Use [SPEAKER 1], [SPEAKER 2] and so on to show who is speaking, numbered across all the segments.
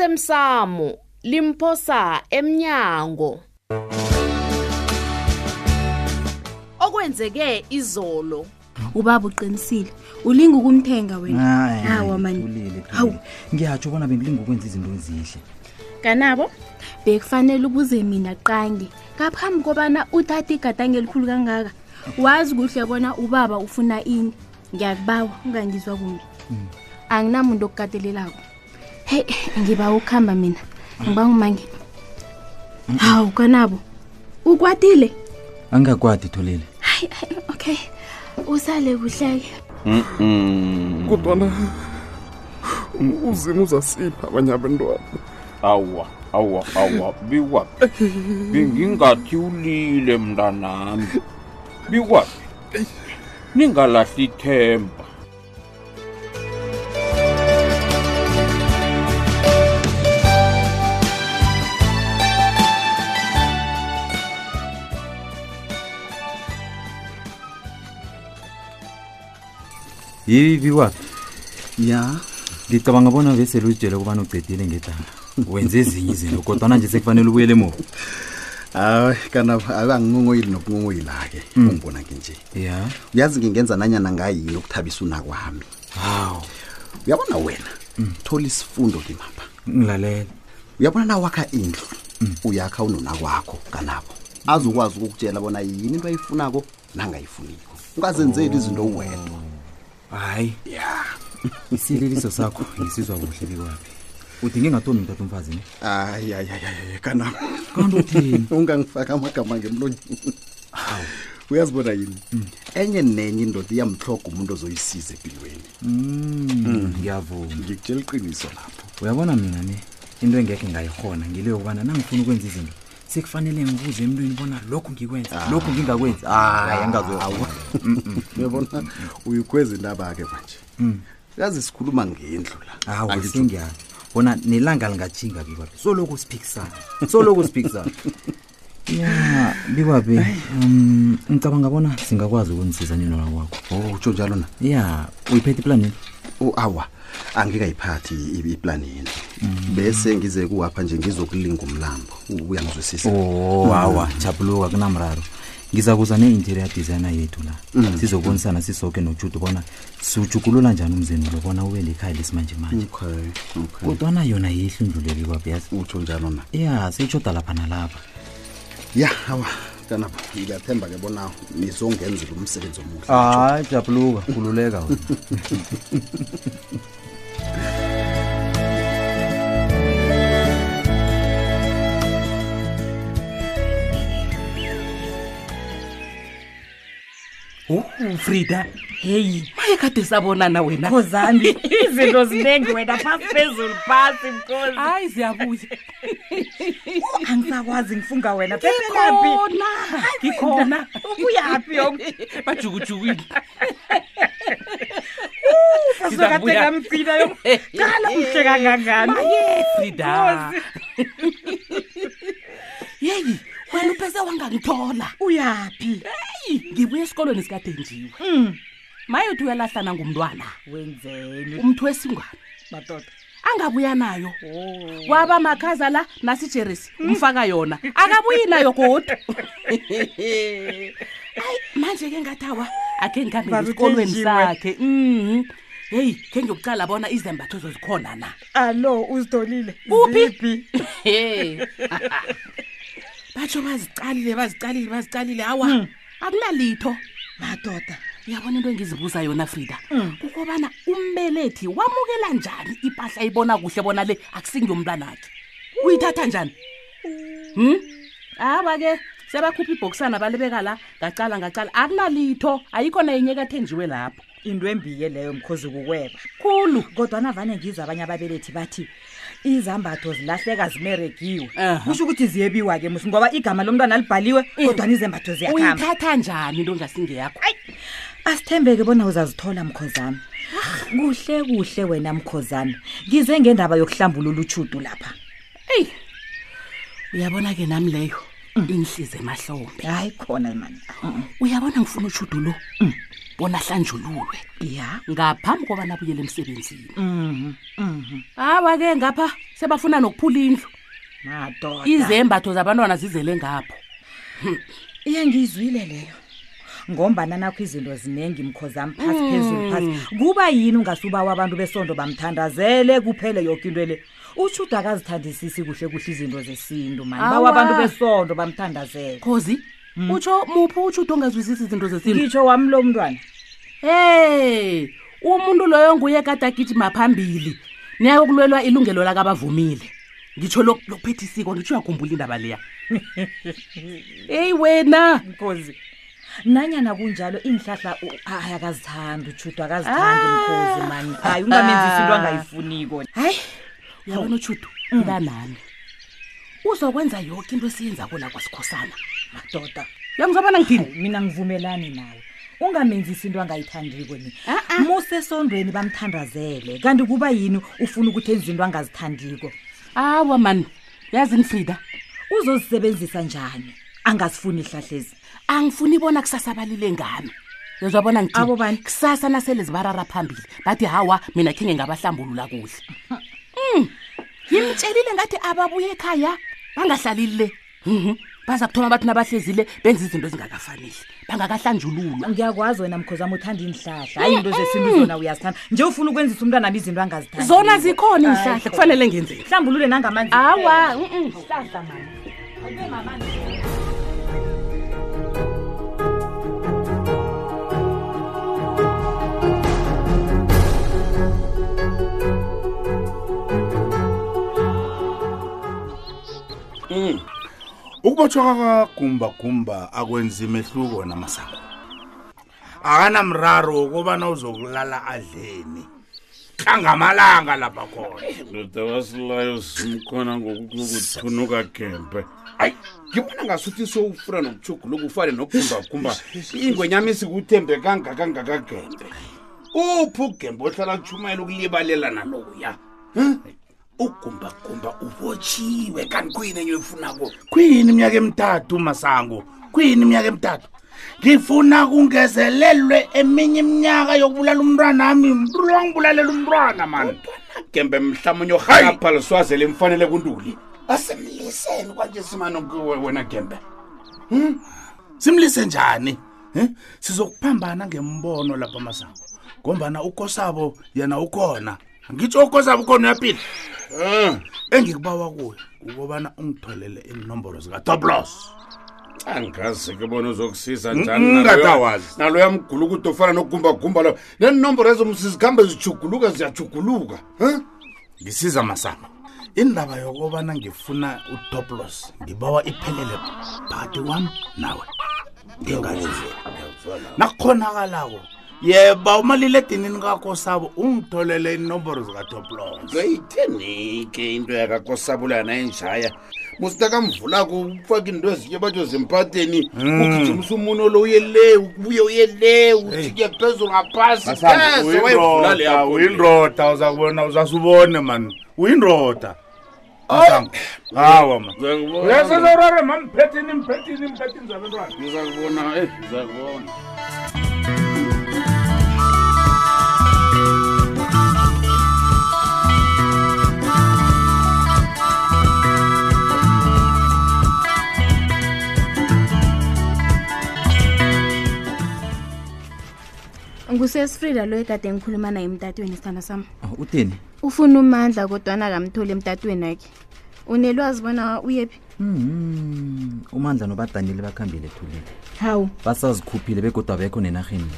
[SPEAKER 1] osemsamo limphosa emnyango okwenzeke izolo
[SPEAKER 2] ubaba uqinisile ulinga ukumthenga wena
[SPEAKER 3] Ah,
[SPEAKER 4] Hayi,
[SPEAKER 3] eh,
[SPEAKER 2] Awa, man.
[SPEAKER 4] thulile, thulile.
[SPEAKER 2] Ah, Hawu.
[SPEAKER 4] ngiyatsho bona bengilinga ukwenza izinto ezihle
[SPEAKER 2] kanabo bekufanele ubuze mina qange ngaphambi kobana uthathe igadange elikhulu kangaka wazi kuhle bona ubaba ufuna ini ngiyakubawa ungangizwa kumbi anginamuntu okukatelelako heyi ngiba ukuhamba mina ngiba ngumangeni hawu kanabo ukwatile
[SPEAKER 4] angingakwadi thulile
[SPEAKER 2] hayi hayi, okay usale kuhleke
[SPEAKER 5] kodwana uzima uzasipha abanye abantwana
[SPEAKER 6] awa awa awa bikwaphi bengingathi ulile mntanami bikwaphi ningalahli ithemba
[SPEAKER 3] yibi waphi
[SPEAKER 4] ya
[SPEAKER 3] ngicabanga bona vesele uzitshele ukubana uqedile ngedala wenze ezinye izinto kodwana nje sekufanele ubuyele emuva
[SPEAKER 4] hayi kanabo abe angingongoyili nokungongoyila-ke ungibona ke nje
[SPEAKER 3] ya
[SPEAKER 4] uyazi ngingenza nanyana ngayini ukuthabisa unakwami
[SPEAKER 3] hawu
[SPEAKER 4] uyabona wena thola isifundo kimapha
[SPEAKER 3] ngilalela
[SPEAKER 4] uyabona na wakha indlu uyakha unona kwakho kanabo azokwazi ukukutshela bona yini into ayifunako nangayifuniko ungazenzeli izinto uwedwa
[SPEAKER 3] hayi ya isileliso sakho ngisizwa kuhle bikwaphi uthi ngingathomi mtata umfazi ne
[SPEAKER 4] ayi ayi ayi, ayi ayi, kanabo
[SPEAKER 3] kanti uthini
[SPEAKER 4] ungangifaka amagama ngemlonyeni uyazibona yini enye nenye indoda iyamhloga umuntu ozoyisiza empilweni
[SPEAKER 3] Mm, ngiyavuma
[SPEAKER 4] ngikutshela iqiniso lapho
[SPEAKER 3] uyabona mina ne into engekhe ngayihona ngile yokubana nangifuna ukwenza izinto sekufanele ngibuze emntwini bona lokhu ngikwenza lokhu Ah, ngingakwenzi hayi angazoyawa
[SPEAKER 4] uyabona Mm. uyikhweza indaba-ke manje yazi sikhuluma ngendlu la
[SPEAKER 3] hawu
[SPEAKER 4] Angithi-
[SPEAKER 3] sengiyazi bona nelanga lingatshinga bikwaphi soloko siphikisana soloko siphikisana ya bikwaphi um ngicabanga bona singakwazi ukunisiza nina lakwakho
[SPEAKER 4] Oh, utsho njalo na
[SPEAKER 3] ya uyiphethe iplanini
[SPEAKER 4] Oh, awa angikayiphathi i- iplani yena bese ngize kuwapha nje ngizokulinga umlambo uyangizwisisa Oh.
[SPEAKER 3] o hawa chapuluka kunamraro ngiza kuza ne-interior designer yethu la sizobonisana sisoke nojudu bona siwujukulula njani umzini lo bona ube likhaya lesimanjemanje
[SPEAKER 4] okay okay
[SPEAKER 3] kodwana yona yihle indluleli kwaphi yazi
[SPEAKER 4] utsho njalo na
[SPEAKER 3] ya seyitshoda lapha nalapha
[SPEAKER 4] ya awa kanabo ngiyathemba ke bona nizongenzela umsebenzi omuhle
[SPEAKER 3] hayi japuluka khululeka wena
[SPEAKER 7] ufrida
[SPEAKER 8] heyi
[SPEAKER 7] Oh, maye kade sabonana wena
[SPEAKER 8] khozambi izinto ziningi wena phasi phezulu phasi mkhozi
[SPEAKER 7] hayi ziyabuya
[SPEAKER 8] angisakwazi ngifunga wena phephelaphi
[SPEAKER 7] ngikhona ngikhona
[SPEAKER 8] ubuyaphi yoke
[SPEAKER 7] bajukujukile
[SPEAKER 8] sasokade
[SPEAKER 7] Ngizabuya.
[SPEAKER 8] kamfina yoqala kuhle kangangani
[SPEAKER 7] maye frida yeyi wena uphese wangangithola
[SPEAKER 8] uyaphi
[SPEAKER 7] eyi ngibuye esikolweni sikadenjiwe maye uthi uyalahlana ngumntwana
[SPEAKER 8] wenzeni
[SPEAKER 7] umthwesingwane
[SPEAKER 8] madoda
[SPEAKER 7] angabuya nayo waba makhaza la nasijeresi umfaka yona akabuyi nayo kodwa ayi manje ke ngathawa akhe
[SPEAKER 8] Baba
[SPEAKER 7] ngihambe esikolweni
[SPEAKER 8] uThenjiwe.
[SPEAKER 7] sakhe mhm heyi khe ngiyokuqala bona izembatho zozikhona na
[SPEAKER 8] allo Ah, uzitholile
[SPEAKER 7] Kuphi? he batsho bazicalile bazicalile bazicalile awa akunalitho
[SPEAKER 8] madoda
[SPEAKER 7] uyabona into engizibuza yona frida kukobana umbelethi wamukela njani impahla ibona kuhle bona le akusingiyomntwanakhe uyithatha njani um aba-ke sebakhupha ibhokisana balibeka la ngacala ngacala akunalitho ayikho nayinyeka ethenjiwe lapho
[SPEAKER 8] into embiye leyo mkhozi kukweba
[SPEAKER 7] khulu
[SPEAKER 8] kodwana vane ngizwa abanye ababelethi bathi izambatho zilahleka zimeregiwe
[SPEAKER 7] Aha. Eh.
[SPEAKER 8] kusho ukuthi ziyebiwa-ke musi ngoba igama lomntwana libhaliwe kodwana izembatho ziyakhamba
[SPEAKER 7] uyithatha njani into engasingeyakho
[SPEAKER 8] asithembeke bona uzazithola mkhozami kuhle kuhle wena mkhozami ngize ngendaba yokuhlambulula utshudu lapha
[SPEAKER 7] eyi uyabona-ke nami leyo inhlize emahlombe
[SPEAKER 8] hayi khona mani Mm,
[SPEAKER 7] uyabona ngifuna ushudo lo bona hlanjululwe
[SPEAKER 8] ya mm-hmm,
[SPEAKER 7] ngaphambi kobana abuyele emsebenzini awa-ke ngapha sebafuna nokuphula indlu
[SPEAKER 8] madoda
[SPEAKER 7] izembatho zabantwana zizele ngapho
[SPEAKER 8] iyangiyizwile leyo ngombana nakho izinto ziningi mkhozami phasi phezulu phasi kuba yini ungasuba wabantu besondo bamthandazele kuphele yoke into le utshuda akazithandisisi kuhle kuhle izinto zesintu mani
[SPEAKER 7] Awa.
[SPEAKER 8] bawabantu besondo bamthandazele
[SPEAKER 7] khozi utsho muphi utshudo ongazwisisi izinto zesintu
[SPEAKER 8] ngitsho wami lo mntwana
[SPEAKER 7] hey umuntu loyo nguye kadagijima phambili neyokulwelwa ilungelo lakabavumile ngitsho lok- lokuphetha isiko ngitsho uyakhumbula indaba leya eyi wena
[SPEAKER 8] mkhozi nanyana kunjalo iinhlahla u- hayi akazithandi utshudo akazithandi mkhozi mani hayi ungamenzisi into angayifuniko hayi
[SPEAKER 7] uyabona utshudo mntanami uzokwenza yoke into esiyenza kola kwasikhosana
[SPEAKER 8] madoda
[SPEAKER 7] uyangizabana ngithini
[SPEAKER 8] mina ngivumelani nawe ungamenzisi into angayithandiko ni musesondweni bamthandazele kanti kuba yini ufuna ukuthi enze into angazithandiko
[SPEAKER 7] awa mani yazini frida
[SPEAKER 8] uzozisebenzisa njani angazifuni ihlahlezi
[SPEAKER 7] angifuni ibona kusasa balile ngami yezwabona ngithini?
[SPEAKER 8] Abo bani?
[SPEAKER 7] kusasa nasele zibarara phambili bathi hawa mina khe ngingabahlambulula kuhle mm. ngimtshelile ngathi ababuye ekhaya bangahlalili le Mhm. baza kuthoma bathi nabahlezile benza izinto ezingakafaneli bangakahlanjululwa
[SPEAKER 8] ngiyakwazi wena mkhozami uthanda iinhlahla hayi into zesintu zona uyazithanda nje ufuna ukwenzisa umntwana ami izinto angazithandi
[SPEAKER 7] zona zikhona iinhlahla kufanele ngenzeni
[SPEAKER 8] mhlambulule nangamanzi
[SPEAKER 7] awa
[SPEAKER 4] ukubotshwa kakagumbagumba akwenzi mehluko namasango akanamraro wokobana uzokulala adleni hlangamalanga lapha khona
[SPEAKER 6] ndoda wasilayo simkhona ngokuthunuka gembe
[SPEAKER 4] hayi ngibona ngasuthi sowufura nokuchuguluka ufane nokugumbagumba ingwenyama isikuthembe kangakangakagembe uphi ugembe ohlala kutshumayela ukulibalela naloya Hmm? ugumbagumba ubotshiwe kanti kuyini enye oyifunako kuyini iminyaka emithathu masango kuyini iminyaka emithathu ngifuna kungezelelwe eminye iminyaka yokubulala umntwana ami mntula wangibulalela umntwana mani gembe mhlamunye orhapha liswazele mfanele kuntuli asimliseni kwanje simani kuwe wena gembe Hmm? simlise njani Eh? sizokuphambana ngembono lapha masango ngombana ukosabo yena ukhona ngitsho ukosabo ukhona uyaphila engikubawa kuyo ukubana ungitholele inomboro zikatoblos
[SPEAKER 6] angazi ke bona uzokusiza njani
[SPEAKER 4] ngatawazi
[SPEAKER 6] naloya mgulukudo ofana nogumbagumba lo nenomboro ezomsizikhambe zijuguluka ziyajuguluka
[SPEAKER 4] ngisiza masama indaba yokobana ngifuna utoplos ngibawa iphelele phakathi kwami nawe ngingazizela nakukhonakalako yeba umaliledinini kakho sabo ungitholele inomboro zikatoplos
[SPEAKER 6] ngeyithenike into yakakosabulana enjaya musitakamvulako ufake into ezinye batsho zempateni
[SPEAKER 4] Hmm.
[SPEAKER 6] ugijimisa umuno lo uye le ubuye uye le ujike phezulu ngaphasi Ngeze wayivula leya bholo le.
[SPEAKER 4] uyindoda uzakubona uzasubone mani uyindoda Masango. hawa man
[SPEAKER 6] Ngizakubona.
[SPEAKER 4] uyasezarare mamphethini mphethini mphethini zabentwana
[SPEAKER 6] ngizakubona eh ngizakubona
[SPEAKER 2] ngusesifrida lo ekade ngikhuluma naye emtatweni sithanda sami
[SPEAKER 3] Oh, utheni
[SPEAKER 2] ufuna umandla kodwana kamtholi emtatweni wakhe unelwazi bona uyephi
[SPEAKER 3] Mhm. umandla nobadanile bakhambile ethulile
[SPEAKER 2] hawu
[SPEAKER 3] basazikhuphile begodwa bekho nenarheni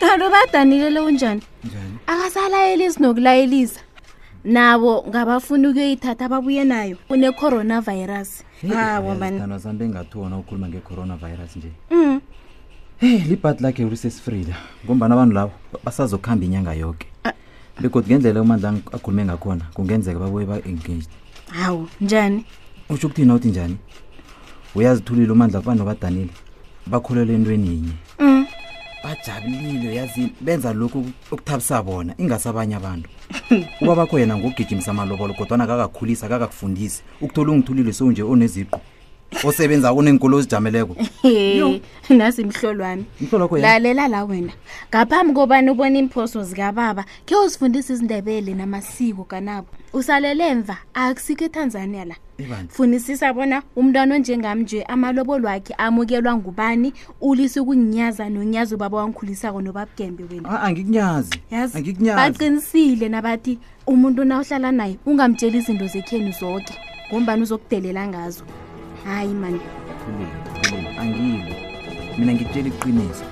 [SPEAKER 2] kanti ubadanile lo unjani
[SPEAKER 3] njani
[SPEAKER 2] akasalayelisi nokulayelisa nabo ngabafuna ukuyoyithatha ababuye nayo une-coronavirus
[SPEAKER 3] eh,
[SPEAKER 2] hawa mani
[SPEAKER 3] thandwa sami bengathi wona ukhuluma nge-coronavirus nje
[SPEAKER 2] Mm.
[SPEAKER 3] heyi libhadi lakhe urisesifrida ngombana abantu labo ba- basazokuhamba inyanga yoke begodwa ngendlela umandla ang- akhulume ngakhona kungenzeka babuye ba-engaged
[SPEAKER 2] hawu njani
[SPEAKER 3] utsho ukuthina uthi njani uyazithulile umandla banobadanile bakholelwa entweni yinye
[SPEAKER 2] Mm.
[SPEAKER 3] bajabulile uyazini benza lokhu okuthabisa bona ingase abanye abantu uba bakho yena ngokugijimisa amalobolo kodwana kakakhulisa kakakufundisi ukuthola ungithulile sowunje oneziqu osebenza kuneenkolo ezijameleko
[SPEAKER 2] He, nasi mhlolwami
[SPEAKER 3] Mhlolo wakho ya-
[SPEAKER 2] lalela la wena ngaphambi kobani ubone imphoso zikababa khe uzifundise izindebele namasiko kanabo usalele emva akusiko etanzania la
[SPEAKER 3] Ibandla.
[SPEAKER 2] funisisa bona umntwana onjengam nje amalobo lwakhe amukelwa ngubani ulise ukunginyaza nonyaza ubaba wangikhulisako nobabugembe wena
[SPEAKER 3] Ah, angikunyazi
[SPEAKER 2] yazi
[SPEAKER 3] angikunyazi
[SPEAKER 2] baqinisile nabathi umuntu nawuhlala naye ungamtsheli izinto zekheni zonke ngombani uzokudelela ngazo hayi mani
[SPEAKER 3] Khulula, khulula, angilwi mina ngitshela iqiniso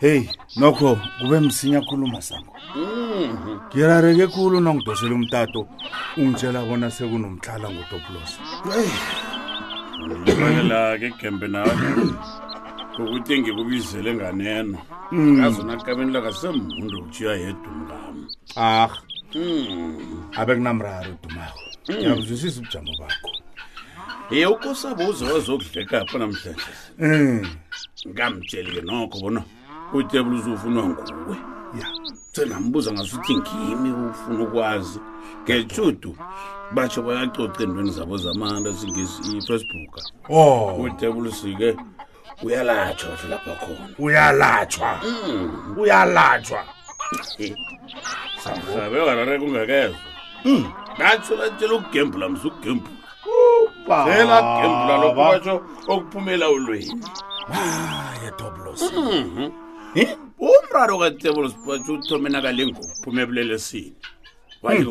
[SPEAKER 9] heyi nokho kube msinya khuluma sango ngirareke khulu nongidosela umtato ungitshela bona sekunomtlhala ngotopolosa
[SPEAKER 6] ndibakela-ke gembe nawe ngokuthi ngikubizele nganeno ngazona kabeni lakasemmuntu utshiya yedwa ngam
[SPEAKER 9] ah abe kunamraro dumako ngiyabuzwisisa ubujamo bakho
[SPEAKER 6] ye ukosabo uze wazokudlekapha namhlanje
[SPEAKER 9] um
[SPEAKER 6] ngamtsheli-ke nokho bona utebula uzofunwa nguwe
[SPEAKER 9] ya
[SPEAKER 6] sengambuza ngasuthi ngimi ufuna ukwazi ngejudu batsho bayacoca endweni zabo zamanto singifacebook
[SPEAKER 9] o
[SPEAKER 6] utebula usike uyalatsho batho lapha khona Hmm.
[SPEAKER 9] uyalatshwa uyalatshwa
[SPEAKER 6] sabe warareka ungakezwa
[SPEAKER 9] Hmm.
[SPEAKER 6] ngatsho latshela ukugembula mse ukugembula sela gembula lokho batsho okuphumela ulweni
[SPEAKER 9] yetopolosa
[SPEAKER 6] Mhm. umraro katebula sibatsho uthome nakalengokuphuma ebulelesini wayeke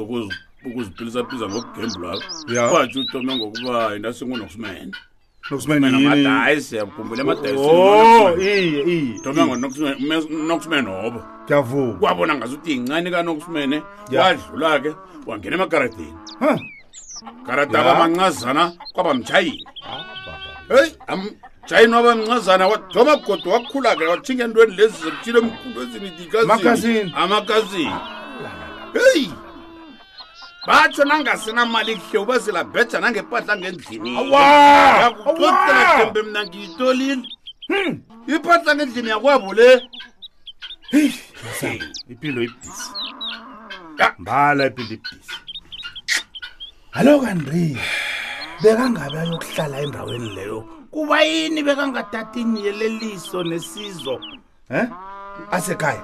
[SPEAKER 6] ukuziphilisaphiza ngokugembula
[SPEAKER 9] Hmm. Ya.
[SPEAKER 6] batsho uthome ngokuba inasingunokusumene
[SPEAKER 9] nokusimaniyini
[SPEAKER 6] amadayisi yakhumbula
[SPEAKER 9] o
[SPEAKER 6] amadayisi
[SPEAKER 9] Oh, iye iye
[SPEAKER 6] thome ngonokusumene hobo
[SPEAKER 9] ngiyavuka
[SPEAKER 6] kwabona ngazuthi yincane kanokusumene
[SPEAKER 9] Ya.
[SPEAKER 6] wadlula ke wangena emagaradeni
[SPEAKER 9] Huh.
[SPEAKER 6] karata
[SPEAKER 9] Ya. Ah,
[SPEAKER 6] abamancazana kwabamjayini heyi amjayini wabamncazana wathoma godo wakhula-ke wathinga entweni lezi zekuthile emkhulu
[SPEAKER 9] Makasini.
[SPEAKER 6] ezinidikazini amakasini heyi batsho nangasenamali kuhle ubazelabheja nangepahla ngendlini
[SPEAKER 9] Awa! Awa! Hmm.
[SPEAKER 6] yakucotelaembe mna ngiyitolile ipahla ngendlini yakwabo le
[SPEAKER 9] ipilo ibhisi
[SPEAKER 6] Ya.
[SPEAKER 9] mbala ipilo ibhisi alo kanri bekangabe ayokuhlala endaweni leyo kuba yini bekangatathiniyeleliso nesizo um asekhaya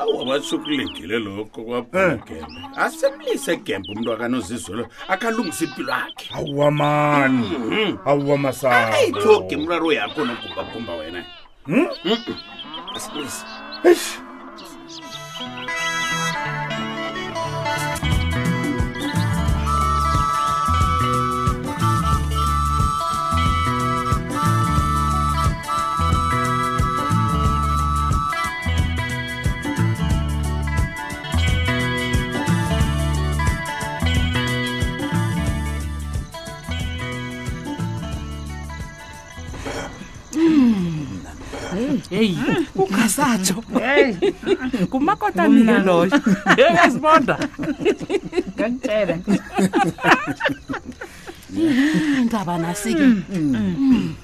[SPEAKER 6] awu batsho kulingile lokho kwabhgembe asemlise gembe umntu akanozizwelo akalungisa impilo yakhe
[SPEAKER 9] awuwamani
[SPEAKER 10] Mhm.
[SPEAKER 6] ayithogi
[SPEAKER 9] Ah, awuwamasaayithogi
[SPEAKER 6] mraro yakho nogumbagumba wena Mm-mm. asemlise
[SPEAKER 7] heyi ungasatsho ngumakotani-ke loyo eyazibonda
[SPEAKER 8] ngakutshela
[SPEAKER 7] indaba nasi-ke Mm.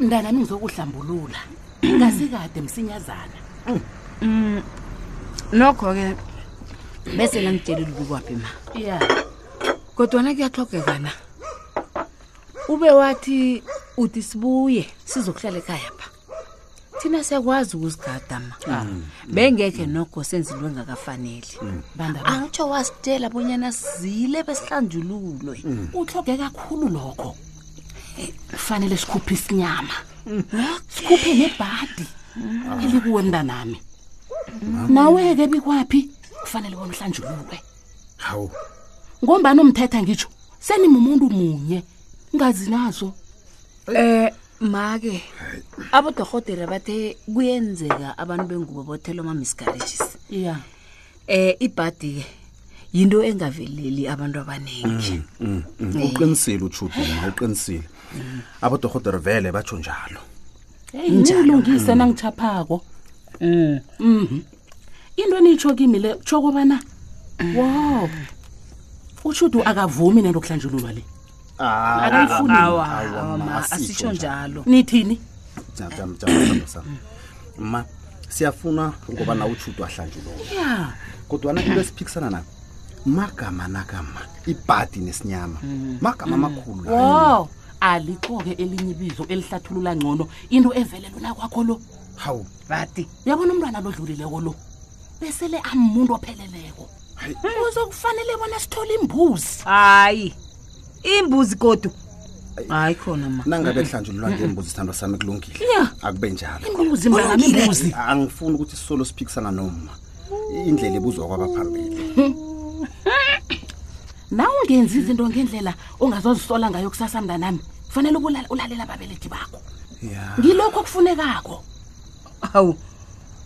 [SPEAKER 7] mntanami ngizokuhlambulula ngasikade msinyazana
[SPEAKER 11] nokho-ke bese langitshelela ukukwaphi ma
[SPEAKER 7] ya
[SPEAKER 11] kodwana kuyaxhogeka na ube wathi uthi sibuye sizokuhlala ekhaya pha thina siyakwazi ukuzigada ma
[SPEAKER 8] Mm.
[SPEAKER 11] bengekhe nokho senza into engakafaneli
[SPEAKER 7] bandaba
[SPEAKER 11] angitsho wasitshela bonyana sizile besihlanjululwe
[SPEAKER 7] utlhoge kakhulu lokho Eh, kufanele sikhuphe isinyama sikhuphe nebhadi elikuwe mntanami nawe-ke bikwaphi kufanele bona uhlanjululwe
[SPEAKER 9] hawu
[SPEAKER 7] ngombani omthetha ngitsho senimumuntu munye ngazi nazo
[SPEAKER 11] Eh make abodorhodera bathe kuyenzeka abantu bengubo bothela ama-miscarriages
[SPEAKER 7] ya
[SPEAKER 11] eh ibhadi ke yinto engaveleli abantu abaningi
[SPEAKER 4] Mm. uqinisile utshudu ma uqinisile abodorhodere vele batsho njalo
[SPEAKER 8] Eh.
[SPEAKER 7] nilungise nangichaphako Mhm. into enitsho kimi le tsho kobana wow ushudu akavumi nento kuhlanjululwa le Akayifuni.
[SPEAKER 11] Awa, ma, asitsho njalo.
[SPEAKER 7] nithini
[SPEAKER 4] ma siyafuna ngoba na utshudo ahlanjululwe
[SPEAKER 7] ya
[SPEAKER 4] kodwana into esiphikisana nayo magama nakama ibhadi nesinyama magama amakhulu la.
[SPEAKER 11] Mm.
[SPEAKER 7] wo alixoke elinye ibizo elihlathulula ngcono into evele lona kwakho lo
[SPEAKER 4] hawu
[SPEAKER 7] bati uyabona umntwana lodlulileko lo besele amuntu opheleleko uzokufanele bona sithole imbuzi
[SPEAKER 8] hayi imbuzi godu
[SPEAKER 11] hayi khona ma
[SPEAKER 4] nangabe kuhlanjululwa ngembuzi sithandwa sami kulungile
[SPEAKER 7] ya
[SPEAKER 4] akube njalo
[SPEAKER 7] imbuzi mntanami imbuzi
[SPEAKER 4] angifuni ukuthi sisolo siphikisana noma indlela ebuzwa kwabaphambili
[SPEAKER 7] na ungenzi izinto ngendlela ongazozisola ngayo kusasa mntanami kufanele ubulale- ulalela ababelethi bakho
[SPEAKER 4] ya
[SPEAKER 7] ngilokho okufunekakho
[SPEAKER 8] hawu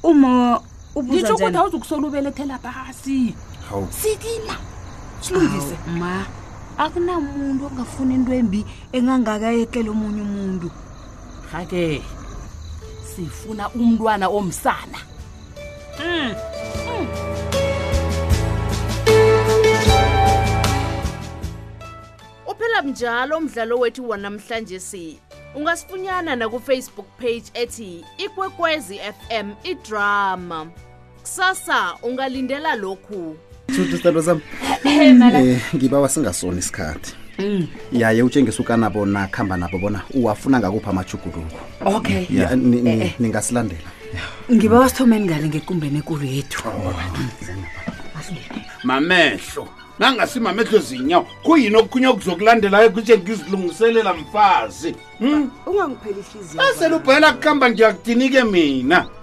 [SPEAKER 8] uma
[SPEAKER 7] ngitsho
[SPEAKER 8] ubuza
[SPEAKER 7] ukuthi
[SPEAKER 8] njani
[SPEAKER 7] awuzukusola ubelethela phasi
[SPEAKER 4] hawu
[SPEAKER 7] sikima silungise
[SPEAKER 8] ma akunamuntu ongafuni into embi engangakayetlela omunye umuntu
[SPEAKER 7] rhake sifuna umntwana omsana
[SPEAKER 1] uphela njalo umdlalo wethu wanamhlanje si ungasifunyana nakufacebook page ethi ikwekwezi fm idrama kusasa ungalindela lokhu
[SPEAKER 4] shudu sithandwa sami Eh, ngibawa singasona isikhathi yaye utshengisa ukanabo nakuhamba nabo bona uwafuna ngakuphi amajuguluko
[SPEAKER 11] okay
[SPEAKER 4] Ya, ni- ni- ningasilandela
[SPEAKER 11] ngiba wasithomeni ngale ngekumbeni ekulu yethu
[SPEAKER 10] mamehlo nangasimamehlo zinyawo kuyini okukhunye okuzokulandelayo kutshe ngizilungiselela mfazi ungangiphelihliziyo asele ubhayela kuhamba ngiyakudini-ke mina